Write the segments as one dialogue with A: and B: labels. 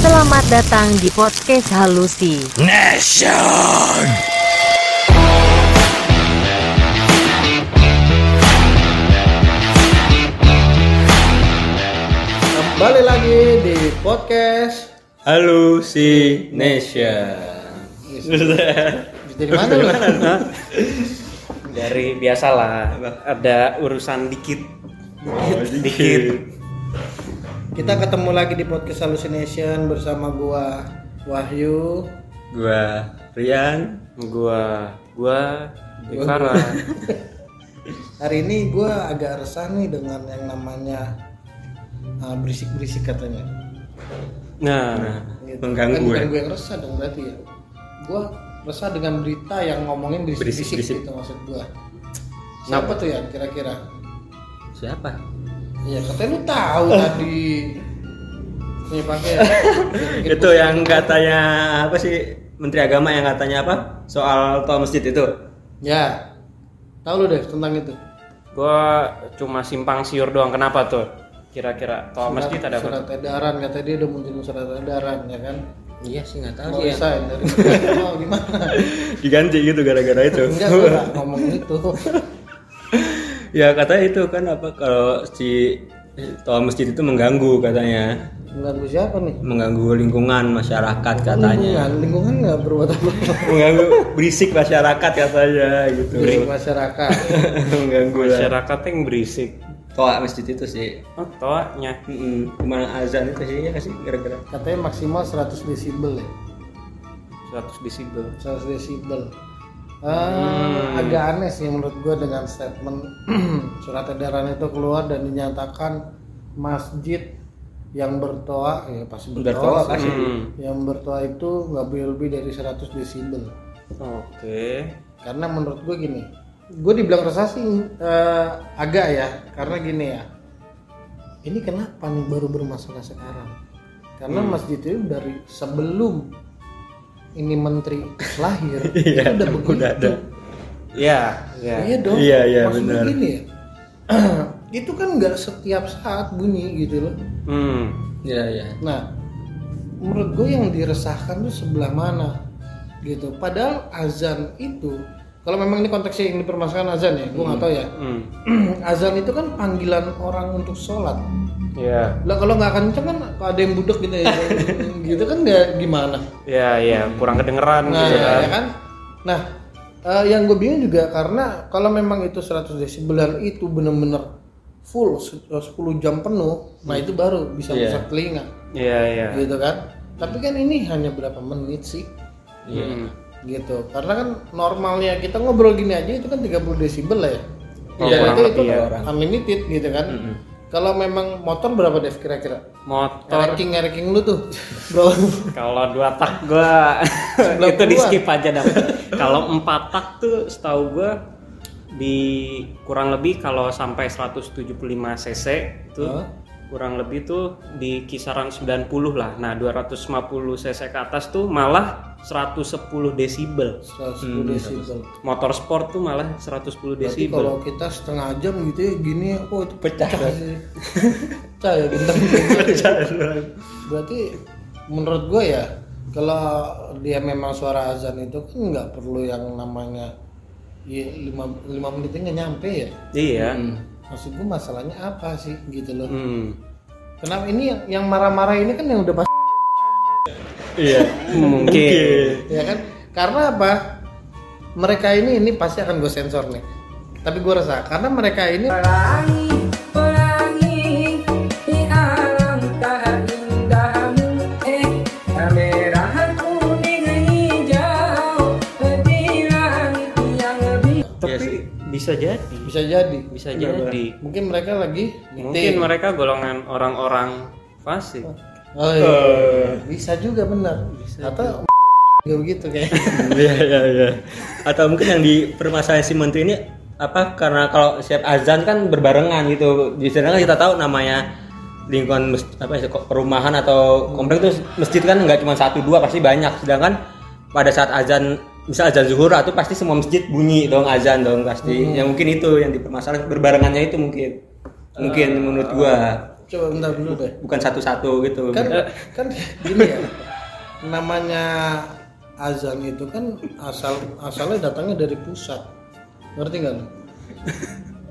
A: Selamat datang di podcast Halusi.
B: Nation!
C: Kembali lagi di podcast
D: Hallucination
C: dari mana lu?
E: dari biasalah ada urusan dikit dikit
C: Kita ketemu lagi di podcast Hallucination bersama gua Wahyu.
D: Gua Rian
E: gua gua Ikara
C: Hari ini gua agak resah nih dengan yang namanya uh, berisik-berisik katanya.
E: nah
C: Gitu.
D: Mengganggu
C: Kan bukan
D: ya?
C: gue yang resah dong berarti ya. Gua resah dengan berita yang ngomongin berisik-berisik
D: Berisik-berisik.
C: gitu maksud gua. Siapa tuh ya kira-kira?
D: Siapa?
C: Iya katanya lu tahu tadi. Nih pakai. Bikin
D: Itu yang katanya apa sih Menteri Agama yang katanya apa? Soal toa masjid itu
C: Ya. Tahu lu deh tentang itu.
E: gua cuma simpang siur doang kenapa tuh kira-kira toa masjid ada apa
C: surat
E: tuh?
C: edaran katanya dia udah munculin surat edaran ya kan
D: Iya sih nggak
C: mau resign dari Presiden, mau gimana
D: Diganti gitu gara-gara itu
C: enggak gue nggak ngomong itu
D: Ya katanya itu kan apa kalau si toa masjid itu mengganggu katanya
C: mengganggu siapa nih
D: Mengganggu lingkungan masyarakat katanya
C: lingkungan lingkungan nggak berbuat apa
D: Mengganggu berisik masyarakat katanya gitu
C: Berisik masyarakat
D: Mengganggu lah
E: masyarakatnya yang berisik
D: Toa masjid itu sih
E: oh, toanya
D: Mm-mm. Gimana azan itu sih ya nggak sih gara-gara
C: katanya maksimal 100 desibel ya
E: 100 desibel
C: 100 desibel Eh,
E: Hmm.
C: agak aneh sih menurut gue dengan statement surat edaran itu keluar dan dinyatakan masjid yang bertoa ya pasti bertoa,
D: Bertoa
E: kan?
D: pasti.
C: sih. yang bertoa itu nggak boleh lebih dari 100 desibel
E: oke
C: karena menurut gue gini gue dibilang resah sih eh, agak ya karena gini ya ini kenapa nih baru bermasalah sekarang karena
D: Hmm.
C: masjid itu dari sebelum ini menteri lahir itu
D: Iya,
C: udah
D: emang
C: begitu
D: udah ada.
E: ya ya
C: iya dong
D: Iya, iya,
C: Maksud gue
D: benar.
C: gini ya itu kan nggak setiap saat bunyi gitu loh
E: hmm
D: Iya iya.
C: Nah, menurut gue yang diresahkan tuh sebelah mana gitu. Padahal azan itu, kalau memang ini konteksnya yang dipermasalahkan azan ya, gue nggak tahu ya.
E: hmm
C: azan itu kan panggilan orang untuk sholat.
E: ya
C: Lah kalau nggak kenceng kan ada yang budek gitu ya, gitu kan nggak gimana.
E: ya ya kurang kedengeran
C: Nah,
E: gitu
C: ya,
E: kan
C: ya kan? Nah, eh, yang gue bingung juga karena kalau memang itu 100 desibelan itu bener-bener full se- 10 jam penuh, nah
E: Hmm.
C: itu baru bisa
D: Iya.
C: rusak telinga
E: ya ya
C: gitu kan tapi kan ini hanya berapa menit sih
E: Hmm.
C: gitu karena kan normalnya kita ngobrol gini aja itu kan 30 desibel lah ya
E: Iya,
C: Dan
E: kurang
C: itu itu
E: lebih ya.
C: unlimited gitu kan kalau memang motor berapa Dev kira-kira
E: motor Hmm,
C: ranking ranking lu tuh bro
E: Kalau dua tak gua itu di skip aja dah. kalau empat tak tuh setahu gua di kurang lebih kalau sampai 175 cc itu
C: Hah?
E: kurang lebih tuh di kisaran 90 lah. Nah, 250 cc ke atas tuh malah 110 desibel.
C: 110 desibel
E: Motor sport tuh malah 110
C: berarti
E: desibel.
C: kalau kita setengah jam gitu ya gini oh itu
D: Pecah.
C: sih. pecah ya bentar berarti menurut gue ya kalau dia memang suara azan itu kan nggak perlu yang namanya ya, lima, lima menitnya nggak nyampe ya
E: Iya.
C: maksud gue masalahnya apa sih gitu loh
E: Hmm.
C: kenapa ini yang- yang marah-marah ini kan yang udah pas
D: Iya.
E: Mungkin.
C: ya kan karena apa mereka ini ini pasti akan gue sensor nih tapi gue rasa karena mereka ini
E: Tapi bisa jadi.
C: bisa jadi
E: Bisa jadi.
C: mungkin mereka lagi
E: Mungkin
C: meeting.
E: mereka golongan orang-orang fasik.
C: Oh, iya.
D: Eh.
C: bisa juga benar atau juga begitu kayak
D: Iya iya iya. Atau mungkin yang dipermasalahin si menteri ini apa karena kalau siap azan kan berbarengan gitu. Di sana kan kita tahu namanya lingkungan mes- apa ya, kok- perumahan atau komplek itu masjid kan nggak cuma satu dua pasti banyak. Sedangkan pada saat azan misal azan zuhur atau pasti semua masjid bunyi dong Ya azan
C: Hmm. Ah.
D: dong pasti. Yang mungkin itu yang dipermasalahin berbarengannya itu mungkin. Mungkin menurut gua.
C: coba bentar dulu deh
D: bukan satu-satu gitu
C: kan kan gini ya namanya azan itu kan asal asalnya datangnya dari pusat ngerti nggak lu?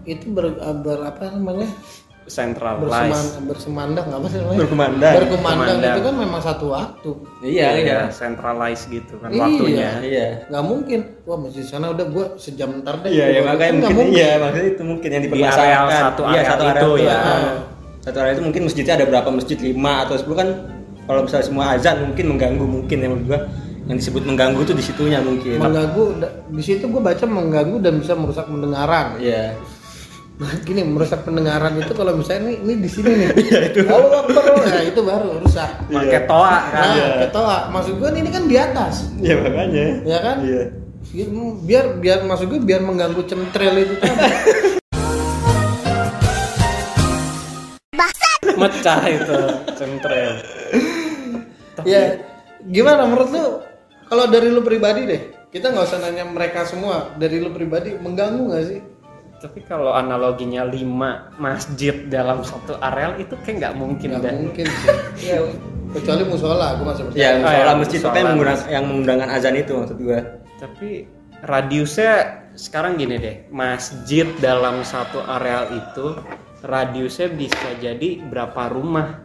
C: itu ber, eh, ber- apa namanya berseman,
E: centralized
C: bersemandang apa sih namanya
D: Berkumandang.
C: Berkumandang itu
E: Berkumandang.
C: kan memang satu waktu
D: iya iya
E: centralized gitu kan
C: Iya.
E: waktunya
D: iya
C: nggak mungkin wah masih sana udah gua sejam ntar deh
D: iya ya,
C: Gua-
D: makanya
C: kan nggak
D: mungkin, iya maksudnya itu mungkin yang
E: Di
D: dipermasalahkan
E: areal satu
D: iya,
E: areal
D: satu
E: itu,
D: areal
E: ya.
D: iya. satu areal itu mungkin masjidnya ada berapa masjid lima atau sepuluh kan kalau misalnya semua azan mungkin mengganggu mungkin yang menurut gua yang disebut mengganggu itu disitunya mungkin
C: mengganggu da- di situ gue baca mengganggu dan bisa merusak pendengaran
D: iya
C: gini merusak pendengaran itu kalau misalnya ini, ini di sini nih kalau nah itu baru rusak
E: pakai toa kan
C: nah ketawa maksud gue ini kan di atas
D: iya makanya
C: ya kan
D: iya
C: biar biar maksud gue biar mengganggu centrel itu tadi
E: mecah itu centrel
C: ya gimana menurut lu kalau dari lu pribadi deh kita nggak usah nanya mereka semua dari lu pribadi mengganggu nggak sih
E: tapi kalau analoginya lima masjid dalam satu areal itu kayak nggak mungkin
C: nggak
E: dan
C: mungkin sih ya kecuali musola gue masih percaya
D: ya
E: iya,
D: soal masjid pokoknya
E: musola.
D: menggunakan yang mengundangkan azan itu maksud gua
E: tapi radiusnya sekarang gini deh masjid dalam satu areal itu radiusnya bisa jadi berapa rumah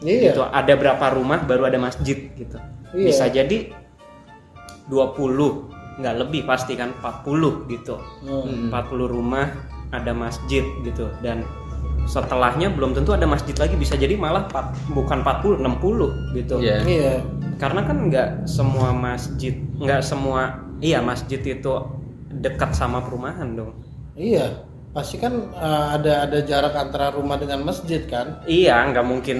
C: iya
E: gitu ada berapa rumah baru ada masjid gitu
C: Iya.
E: bisa jadi 20 nggak lebih pasti kan 40 gitu
C: Hmm.
E: 40 rumah ada masjid gitu dan setelahnya belum tentu ada masjid lagi bisa jadi malah empat- bukan 40 60 gitu
D: Iya.
C: iya
E: karena kan nggak semua masjid nggak semua iya masjid itu dekat sama perumahan dong
C: iya pasti kan eh, ada ada jarak antara rumah dengan masjid kan
E: Iya, nggak mungkin.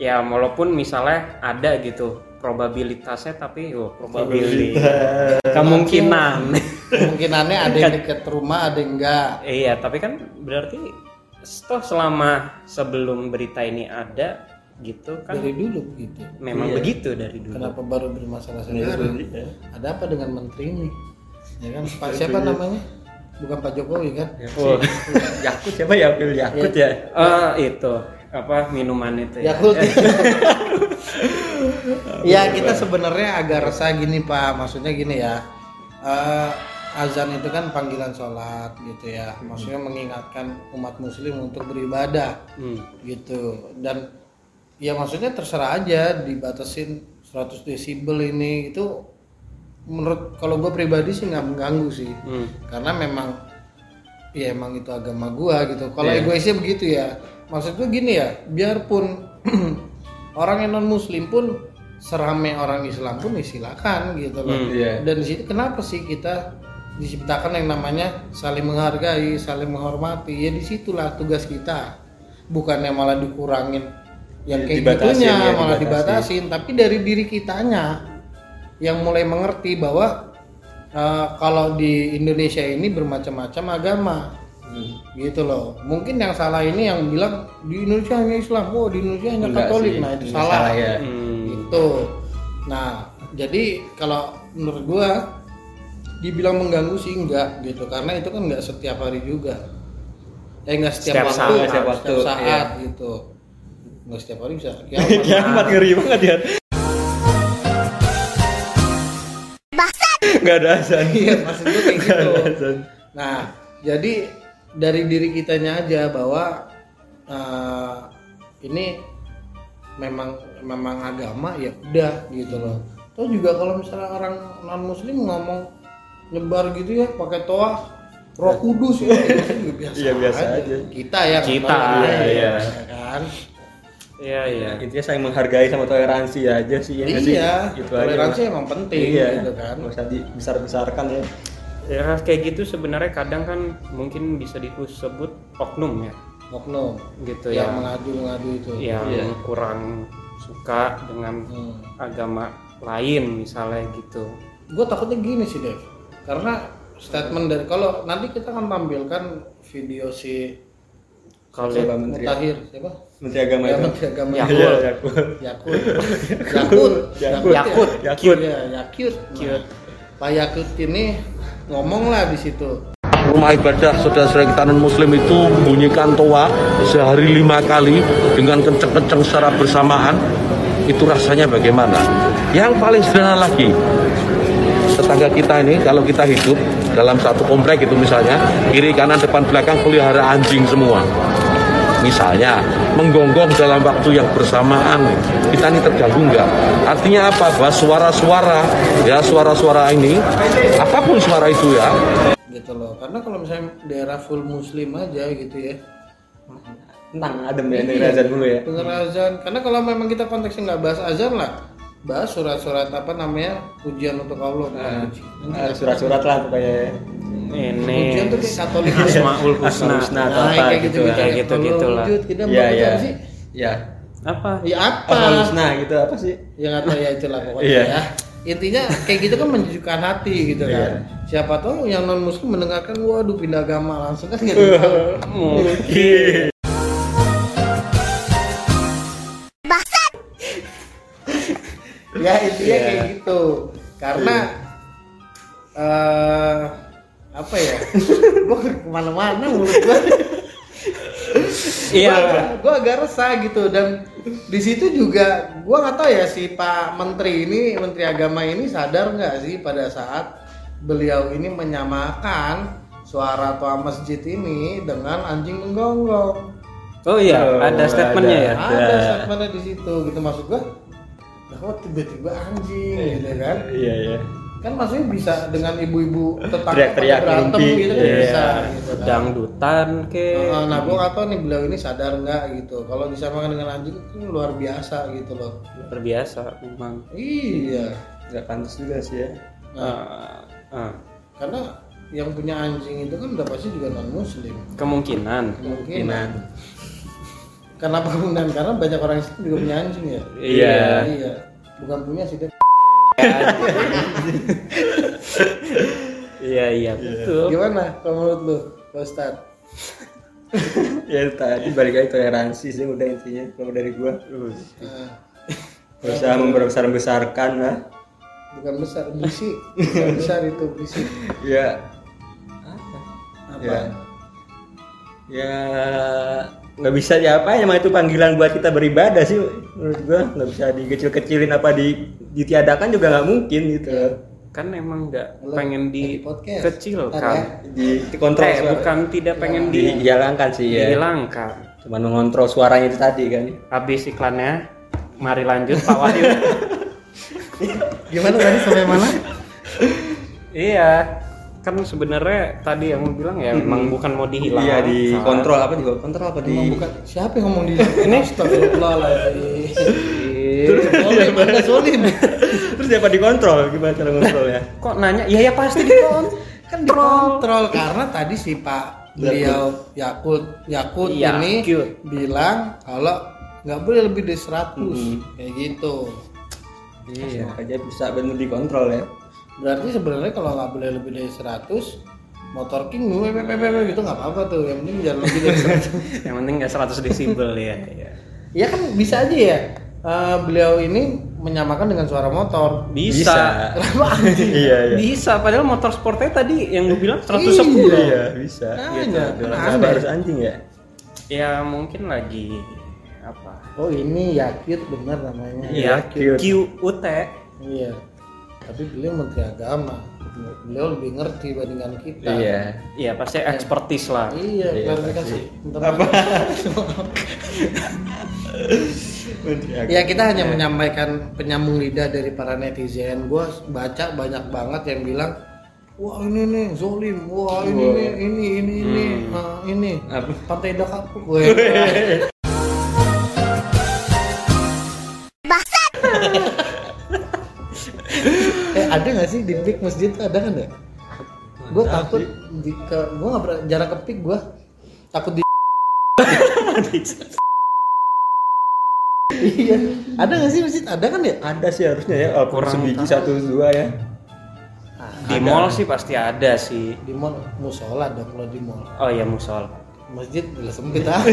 E: Ya, walaupun misalnya ada gitu probabilitasnya, tapi oh, probabilitas kemungkinan.
C: kemungkinannya ada yang deket rumah ada yang enggak
E: iya, tapi kan berarti toh selama sebelum berita ini ada gitu kan
C: dari dulu gitu
E: memang begitu dari dulu.
C: kenapa baru bermasalah
D: Iya,
C: sekarang ada apa dengan menteri ini ya kan pak siapa namanya bukan pak jokowi kan
E: Oh,
D: Yakut siapa ya Pil Yakut ya
E: eh, itu apa minuman itu ya?
C: Yakult ya kita sebenarnya agak resah gini pak maksudnya gini ya Eh, azan itu kan panggilan sholat gitu ya maksudnya mengingatkan umat muslim untuk beribadah
E: Hmm.
C: gitu dan ya maksudnya terserah aja dibatasin 100 desibel ini itu menurut kalau gue pribadi sih nggak mengganggu sih
E: Hmm.
C: karena memang ya emang itu agama gua gitu kalau egoisnya begitu ya maksud gua gini ya biarpun orang yang non muslim pun serame orang Islam pun ya silakan gitu loh
E: Hmm,
D: iya.
C: dan di situ kenapa sih kita diciptakan yang namanya saling menghargai saling menghormati ya disitulah tugas kita bukannya malah dikurangin
D: Iya,
C: yang kayak
D: dibatasin
C: gitunya
D: ya, dibatasin.
C: malah dibatasin tapi dari diri kitanya yang mulai mengerti bahwa eh, kalau di Indonesia ini bermacam-macam agama
D: Hmm.
C: gitu loh mungkin yang salah ini yang bilang di Indonesia hanya Islam oh di Indonesia hanya
D: Enggak
C: Katolik
D: sih,
C: nah itu
D: ini
C: salah,
D: ya
E: Hmm.
C: gitu nah jadi kalau menurut gua dibilang mengganggu sih enggak gitu karena itu kan enggak setiap hari juga eh enggak setiap,
E: Setiap
C: waktu
E: saat,
D: setiap waktu,
C: setiap
D: iya.
C: saat gitu enggak setiap hari bisa kiamat.
D: kiamat ngeri banget ya nggak ada azan
C: Iya, maksud gue kayak
D: Nggak ada
C: gitu.
D: azan.
C: Nah, jadi dari diri kitanya aja bahwa eh, ini memang memang agama ya udah gitu loh. Terus juga kalau misalnya orang non muslim ngomong nyebar gitu ya pakai toa roh kudus ya itu biasa,
D: Iya, biasa aja.
C: Kita ya
E: Kita,
C: ngomongnya,
E: iya.
C: ya kan.
E: Iya, iya.
D: Ya, intinya saya menghargai sama toleransi aja sih ya nggak sih?
C: iya,
D: Itu aja,
C: toleransi
D: Mas.
C: emang penting
D: iya
C: gitu kan.
D: nggak usah dibesar besarkan ya
E: Ya kayak gitu sebenarnya kadang kan mungkin bisa disebut oknum ya.
C: Oknum
E: Gitu
C: yang
E: ya.
C: mengadu-mengadu itu.
E: yang
D: Iya.
E: kurang suka dengan
C: Hmm.
E: agama lain misalnya gitu
C: gue takutnya gini sih Dev karena statement dari kalau nanti kita akan tampilkan video si
E: kalau
D: Siapa menteri
C: Mutahir siapa
D: menteri agama
C: ya
D: itu
C: menteri agama
E: Ya.
D: Iya,
E: Yakut.
D: Yakut.
C: Yakut
D: Yakut.
C: Yakut Yakut ya.
D: Yakut.
C: Yakut. Yakut.
E: Yakut.
C: Nah, Pak Yakut ini ngomong lah di situ
F: rumah ibadah saudara-saudara kita non muslim itu bunyikan toa sehari lima kali dengan kenceng-kenceng secara bersamaan itu rasanya bagaimana yang paling sederhana lagi tetangga kita ini kalau kita hidup dalam satu komplek itu misalnya kiri kanan depan belakang pelihara anjing semua misalnya menggonggong dalam waktu yang bersamaan kita ini terganggu nggak artinya apa bahwa suara-suara ya suara-suara ini apapun suara itu ya
C: gitu loh karena kalau misalnya daerah full muslim aja gitu ya
D: tenang adem ya dengerin azan dulu ya
C: dengar azan karena kalau memang kita konteksnya nggak bahas azan lah bahas surat-surat apa namanya pujian untuk Allah kan?
D: Ah, surat-surat lah pokoknya ya.
C: pujian
E: ini
C: tuh kayak Katolik
E: Asmaul
D: Asmaul
E: Husna
D: Husna atau
C: Nah,
D: apa
C: kayak
D: gitu
C: gitu-gitu
D: ya.
E: kayak gitu-gitu
C: Allah
E: lah.
C: wujud, kita
D: Iya,
C: mau
D: iya.
C: apa sih
D: Iya.
E: apa
C: ya apa
D: Asmaul Husna gitu apa sih?
C: ya nggak tahu ya itulah pokoknya
D: Iya.
C: ya intinya kayak gitu kan menyejukkan hati gitu kan
D: Iya.
C: siapa tahu yang non muslim mendengarkan waduh pindah agama langsung kan gitu ya intinya
D: Iya.
C: kayak gitu karena eh apa ya gua kemana-mana mulut gua
E: Iya.
C: Gua agak- gua agak resah gitu dan di situ juga gua nggak tahu ya si Pak Menteri ini Menteri Agama ini sadar nggak sih pada saat beliau ini menyamakan suara toa masjid ini dengan anjing menggonggong
E: oh iya
D: Oh,
E: ada
D: ada.
E: statementnya ya
C: ada statementnya di situ gitu maksud gua lah kok tiba-tiba anjing gitu kan
D: Iya, iya.
C: kan maksudnya bisa dengan ibu-ibu tetangga
D: Teriak-teriak
C: pada berantem
D: ngintip,
C: gitu kan
D: iya.
C: bisa gitu kan.
E: dangdutan ke
C: Nah, nah gue nggak tahu nih beliau ini sadar nggak gitu kalau disamakan dengan anjing itu luar biasa gitu loh
E: terbiasa memang
C: iya
D: Enggak pantas juga sih ya.
C: nah
E: Eh, eh,
C: karena yang punya anjing itu kan udah pasti juga non muslim
E: kemungkinan
D: Nah,
C: kemungkinan kenapa kemungkinan karena banyak orang Islam juga punya anjing ya
D: Iya.
C: iya bukan punya sih dia
E: iya iya betul
C: gimana kalau menurut lu Pak Ustadz
D: Ya tadi balik lagi toleransi sih udah intinya kalau dari gua.
C: Nah,
D: Berusaha membesar-besarkan lah.
C: bukan besar berisi bukan besar itu berisi
D: Ya,
C: apa
D: ya. Ya nggak bisa diapain emang itu panggilan buat kita beribadah sih menurut gua nggak bisa dikecil-kecilin apa di ditiadakan juga nggak mungkin gitu
E: kan emang nggak
C: Belum
E: pengen
C: di
E: di
C: podcast.
E: kecil
C: Ntar ya.
E: kan
D: di dikontrol
E: eh,
D: suara.
E: bukan tidak pengen di
D: dijalankan
E: Iya.
D: sih ya
E: dihilangkan
D: cuman mengontrol suaranya itu tadi kan
E: habis iklannya mari lanjut Pak Wahyu
C: gimana tadi sampai mana
E: iya kan sebenarnya tadi yang lu bilang ya emang bukan mau dihilangkan
D: iya dikontrol apa di kontrol apa di
C: Emang bukan siapa yang ngomong di ini astagfirullahaladzim
E: Iya.
C: boleh mana solim
D: terus siapa dikontrol gimana cara ngontrolnya
E: kok nanya iya ya pasti dikontrol
C: kan dikontrol karena tadi si pak beliau Yakut Yakut
E: Iya,
C: ini
E: cute.
C: bilang kalau nggak boleh lebih dari 100 kayak gitu
D: iya aja bisa benar dikontrol ya
C: berarti sebenarnya kalau nggak boleh lebih dari 100 motor king mepepepepe gitu nggak apa-apa tuh yang penting jangan lebih dari 100
E: yang penting nggak 100 desibel ya iya.
C: ya kan bisa aja ya eh, beliau ini menyamakan dengan suara motor
E: bisa
C: kenapa anjing
D: iya iya
E: bisa padahal motor sportnya tadi yang gue bilang 110
D: iya bisa gitu
C: Makanya, kan
D: Kenapa
C: aneh.
D: harus anjing ya
E: ya mungkin lagi apa
C: Oh ini Yakut bener namanya.
E: Iya,
D: cute.
E: QUT.
C: Iya. Tapi beliau menteri agama. Beliau lebih ngerti dibandingkan kita.
D: iya
E: Iya, pasti expertise lah.
C: Iya,
D: Iya,
C: klarifikasi.
D: pasti.
C: Bentar.
D: Iya.
C: Ya
D: kan?
C: kita hanya menyampaikan penyambung lidah dari para netizen. Gua baca banyak banget yang bilang, wah ini nih zolim, wah ini
D: Wah. Hmm.
C: nih ini ini ini, nah, ini
D: Apa?
C: pantai Dakar. Weh. eh ada nggak sih di pik masjid tuh ada kan ya? Gue takut di ke gue nggak pernah jarang ke pik gue takut di. iya ada nggak sih masjid ada kan ya?
D: ada sih harusnya ya walaupun
E: Kurang
D: sebiji satu dua ya
E: Di mall sih pasti ada sih.
C: Di mall musola dong kalau di mall
E: Oh iya, musol.
C: masjid udah sempit ah.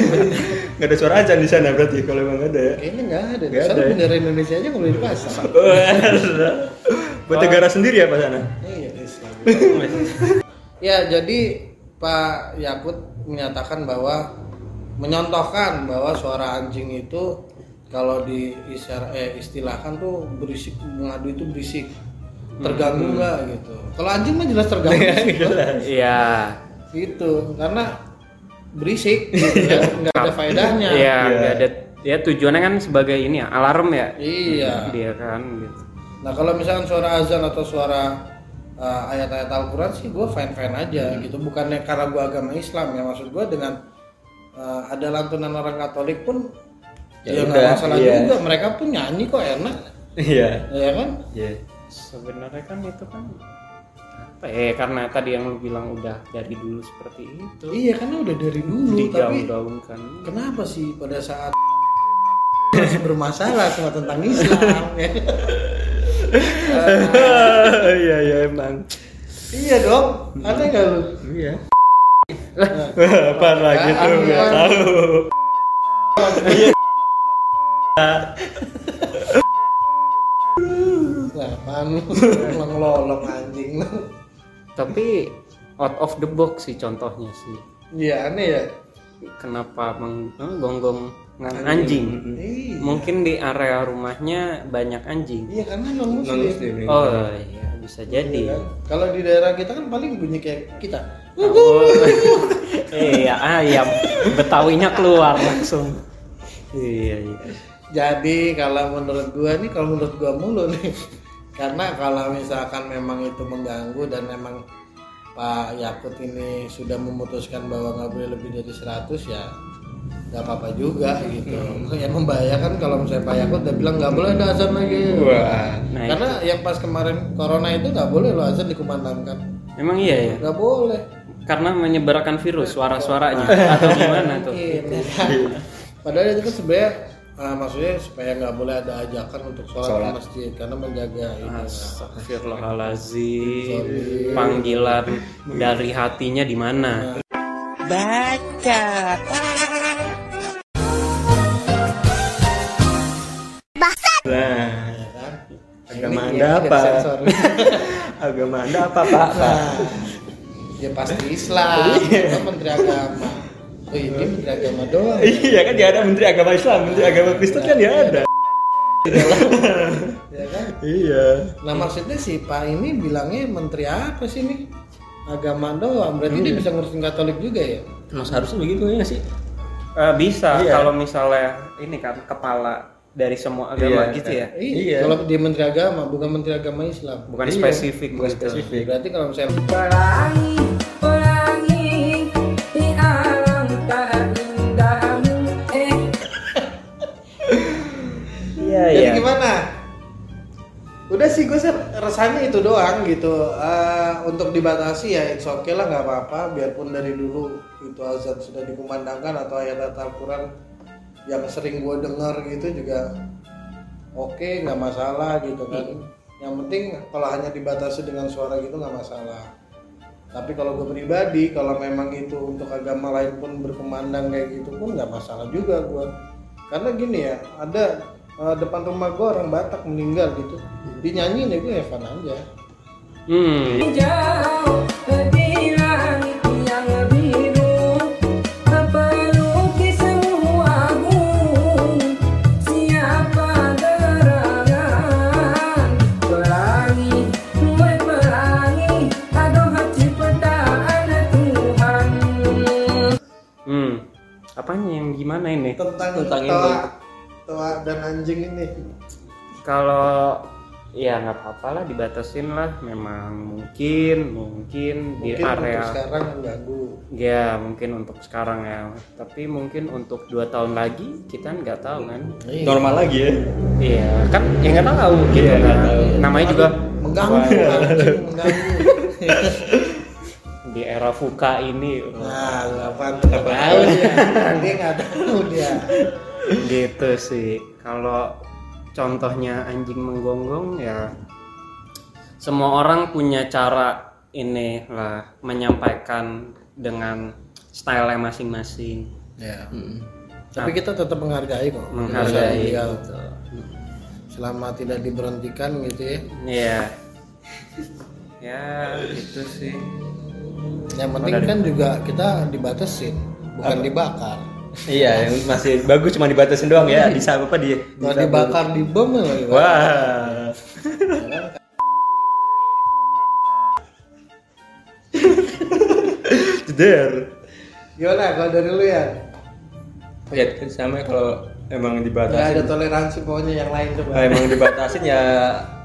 D: nggak ada suara azan di sana berarti kalau emang ada ya
C: Kayaknya nggak ada.
D: Nggak
C: Soalnya
D: ada. ya?
C: bendera Indonesia aja nggak boleh dipasang.
D: Oh, iya. buat negara sendiri ya pak sana
C: Iya, Islam. ya jadi Pak Yakut menyatakan bahwa menyontohkan bahwa suara anjing itu kalau diistilahkan tuh berisik mengadu itu berisik
E: Hmm.
C: terganggu nggak gitu kalau anjing mah jelas terganggu sih, Pak.
E: Iya.
C: gitu karena berisik gitu ya nggak ada faedahnya
E: Iya, nggak ada ya tujuannya kan sebagai ini ya, alarm ya.
C: iya
E: Dia kan gitu.
C: Nah kalau misalkan suara azan atau suara uh, ayat-ayat Al-Quran sih gue fine-fine aja
D: Hmm.
C: gitu Bukannya karena gue agama Islam ya Maksud gue dengan uh, ada lantunan orang Katolik pun
D: Ya
C: Ya, nggak
D: udah,
C: masalah
D: iya.
C: juga Mereka pun nyanyi kok enak
D: Iya.
C: Ya kan?
D: Iya.
E: Sebenarnya kan itu kan apa ya karena tadi yang lu bilang udah dari dulu seperti itu
C: Iya karena udah dari dulu Tapi
E: digaung-gaungkan.
C: kenapa sih pada saat masih bermasalah sama tentang Islam ya?
D: Iya iya emang.
C: Iya dong Ada nggak lu?
D: Iya. Apa lagi tuh
C: Apaan?
D: nggak tahu.
C: Nah, apaan lu? Emang lolong anjing lu
E: Tapi out of the box sih contohnya sih.
C: Iya aneh ya?
E: Kenapa menggonggong anjing? anjing.
D: Hmm.
C: Iya
E: Mungkin di area rumahnya banyak anjing.
C: Iya karena non muslim. kan?
D: Non muslim. ya.
E: Oh iya kan? bisa jadi.
C: Kalau di daerah kita kan paling bunyi kayak kita.
E: Oh, iya ayam Betawinya keluar langsung. Iya iya.
C: Jadi kalau menurut gua nih, kalau menurut gua mulu nih, karena kalau misalkan memang itu mengganggu dan memang Pak Yakut ini sudah memutuskan bahwa nggak boleh lebih dari 100 ya nggak apa-apa juga gitu. Yang membahayakan kalau misalnya Pak Yakut udah bilang nggak boleh ada azan lagi.
D: Wah.
E: Nah,
C: Karena yang pas kemarin corona itu nggak boleh loh azan dikumandangkan.
E: Memang iya ya.
C: Nggak boleh.
E: Karena menyebarkan virus suara-suaranya atau gimana tuh?
C: Mungkin, ya kan? Padahal itu kan sebenarnya ah, maksudnya supaya nggak boleh ada ajakan untuk sholat, di masjid karena menjaga ini. ya kan?
E: Astagfirullahalazim. Panggilan dari hatinya di mana?
D: Nah, agama
C: Iya. Ini
D: anda
C: ya,
D: apa?
C: sensor.
D: Agama anda apa pak? Pak?
C: Nah, ya pasti Islam,
D: Iya.
C: kita menteri agama. Oh ini menteri agama doang.
D: Iya kan ya ada menteri agama Islam, menteri agama Kristen kan ya ada.
C: Ya kan?
D: Iya.
C: Nah maksudnya si Pak ini bilangnya menteri apa sih nih? Agama doang. Berarti
D: Iya.
C: dia bisa ngurusin Katolik juga ya?
D: Mas harusnya begitu ya nggak sih?
E: Eh, bisa
D: Iya.
E: kalau misalnya ini kan kepala dari semua agama
D: Iya.
E: gitu ya.
C: Iya.
D: Iya.
C: Kalau dia menteri agama, bukan menteri agama Islam.
E: Bukan
D: Iya.
E: spesifik
D: Bukan
E: gitu.
D: spesifik.
C: Berarti kalau misalnya
G: pelangi pelangi di alam tak indahmu eh
E: Iya
C: Jadi
E: iya.
C: gimana? Udah sih gue sih resahnya itu doang gitu. Eh, untuk dibatasi ya it's okay lah nggak apa-apa. Biarpun dari dulu itu azan sudah dikumandangkan atau ayat-ayat Al-Quran yang sering gue dengar gitu juga oke nggak masalah gitu kan.
E: Hmm.
C: Yang penting kalau hanya dibatasi dengan suara gitu nggak masalah. Tapi kalau gue pribadi, kalau memang itu untuk agama lain pun berkemandang kayak gitu pun nggak masalah juga gue. Karena gini ya, ada eh, depan rumah gue orang Batak meninggal gitu, dinyanyiin ya gue Evan aja.
E: Hmm.
G: jauh di langit yang biru peluki semua gunung siapa gerangan pelangi woi pelangi aduh ciptaan Tuhan
E: Hmm. Apanya yang gimana ini?
D: Tentang
C: Tentang, toa,
D: ini.
C: toa dan anjing ini.
E: Kalau ya nggak apa-apa lah dibatasin lah memang mungkin mungkin di
C: Mungkin untuk
E: area
C: sekarang mengganggu.
E: ya mungkin untuk sekarang ya tapi mungkin untuk dua tahun lagi kita nggak tahu kan
D: Normal lagi ya.
E: iya kan ya nggak tahu gitu kan namanya juga
C: Mengganggu, anjing, mengganggu.
E: di era fuka ini
C: Nah, lu apaan tuh? Nggak tahu dia. Dia nggak tahu dia.
E: gitu sih kalau contohnya anjing menggonggong ya semua orang punya cara ini lah menyampaikan dengan style masing-masing
C: Ya. Tapi kita tetap menghargai kok. Masa
E: menghargai
C: beliau.
E: gitu.
C: selama tidak
E: Iya.
C: diberhentikan gitu ya
E: ya ya gitu sih
C: Yang penting kan juga kita dibatasin, bukan dibakar.
D: Iya, yang masih bagus cuma dibatasin doang ya. Bisa apa di
C: Kalau dibakar di bom ya lagi.
D: Wah. Jeder.
C: Gimana kalau dari lu ya?
D: Ya sama kalau emang
C: Gak ada
D: dibatasin.
C: toleransi pokoknya yang lain coba.
D: Kalau emang dibatasin ya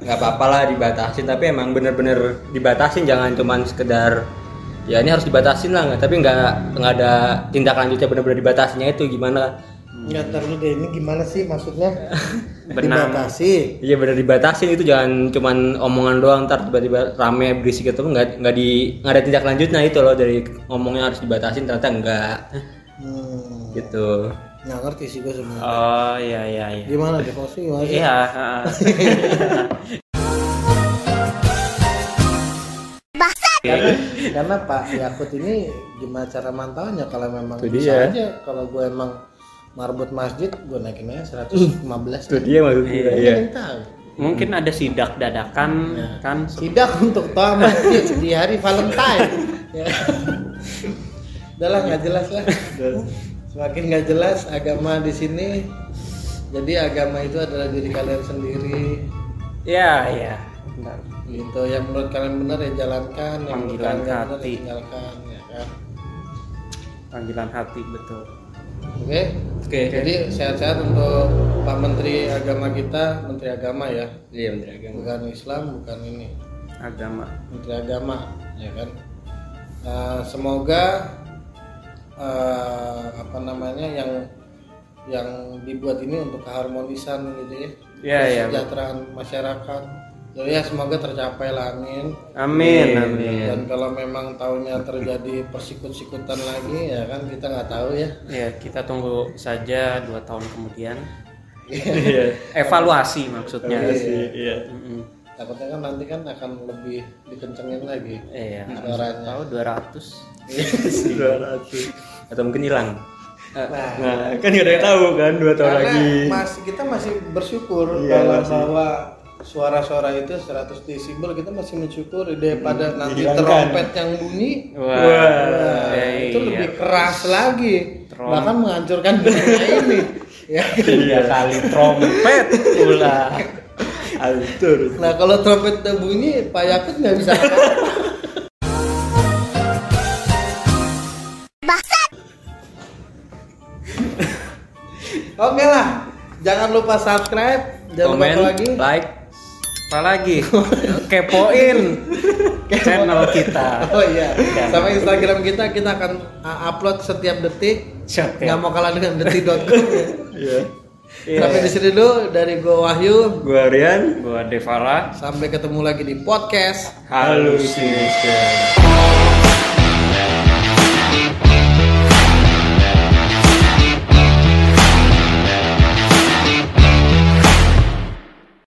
D: nggak apa-apa lah dibatasin tapi emang bener-bener dibatasin jangan cuman sekedar ya ini harus dibatasin lah nggak- tapi nggak nggak ada tindak lanjutnya bener-bener dibatasinya itu gimana
C: Nggak terlalu deh ini gimana sih maksudnya?
E: Benang.
C: Dibatasi.
D: Iya benar dibatasin itu jangan cuman omongan doang ntar tiba-tiba rame berisik itu nggak nggak di nggak ada tindak lanjutnya itu loh dari omongnya harus dibatasin ternyata enggak
C: Hmm.
D: gitu.
C: Nggak ngerti sih gue sebenarnya.
E: Oh iya iya iya.
C: Gimana dibatasi? Gimana sih?
E: Iya. ha.
C: karena Pak Yakut ini gimana cara mantaunya kalau memang
D: Itu
C: bisa
D: dia.
C: aja kalau gue emang marbot masjid gue naikin aja 115
D: Itu dia maksudnya.
C: Kan
D: Iya.
C: yang tahu
E: Mungkin ada sidak dadakan kan.
C: sidak untuk toa masjid di hari Valentine ya. udah lah nggak jelas lah semakin nggak jelas agama di sini jadi agama itu adalah diri kalian sendiri
E: Iya iya. Benar.
C: gitu yang menurut kalian benar ya jalankan yang menurut
E: Panggilan
C: kalian nggak benar
E: hati.
C: ya tinggalkan ya kan
E: Panggilan hati betul.
C: oke
D: Oke.
C: Jadi sehat-sehat untuk Pak Menteri Agama kita, Menteri Agama ya,
D: Iya bener agama.
C: bukan Islam, bukan ini,
E: Agama.
C: Menteri Agama, ya kan. Eh, semoga eh, apa namanya yang yang dibuat ini untuk keharmonisan gitu ya,
E: Iya, iya,
C: kesejahteraan masyarakat. Jadi ya semoga tercapai lah, amin.
E: Amin amin.
C: Dan kalau memang tahunnya terjadi persikut-sikutan lagi ya kan kita nggak tahu ya.
E: Ya kita tunggu saja dua tahun kemudian.
D: Iya.
E: Evaluasi maksudnya.
D: Iya.
E: Mm-mm.
C: Takutnya kan nanti kan akan lebih dikencengin lagi.
E: Iya.
C: Suaranya.
E: Tahu 200.
D: Dua ratus. Atau mungkin hilang.
E: Eh,
C: Nah,
D: Nah kan nggak ada yang tahu kan dua tahun
C: karena
D: lagi.
C: mas, kita masih bersyukur
D: Iya,
C: kalau
D: masih.
C: bahwa suara-suara itu 100 desibel kita masih mensyukuri daripada nanti
D: dihilangkan.
C: trompet yang bunyi
E: Wah.
C: nah,
E: Ya,
C: itu
E: iya.
C: lebih keras lagi
E: Trom-
C: bahkan menghancurkan dunia ini ya.
D: Tiga kali Iya, trompet pula. Altur.
C: nah kalau trompet udah bunyi Pak Yakut nggak bisa apa-apa. Oke lah, jangan lupa subscribe, jangan lupa
D: Komen,
C: apa lagi.
D: like,
E: Apalagi kepoin channel kita.
C: Oh iya, sama Instagram kita kita akan uh, upload setiap detik.
E: Siap
C: Nggak
E: ya.
C: mau kalah dengan detik.com.
D: Iya.
C: ya. Sampai di sini dulu dari gua Wahyu.
D: Gue Rian.
E: Gua Devara.
C: Sampai ketemu lagi di podcast.
D: Halusinasi.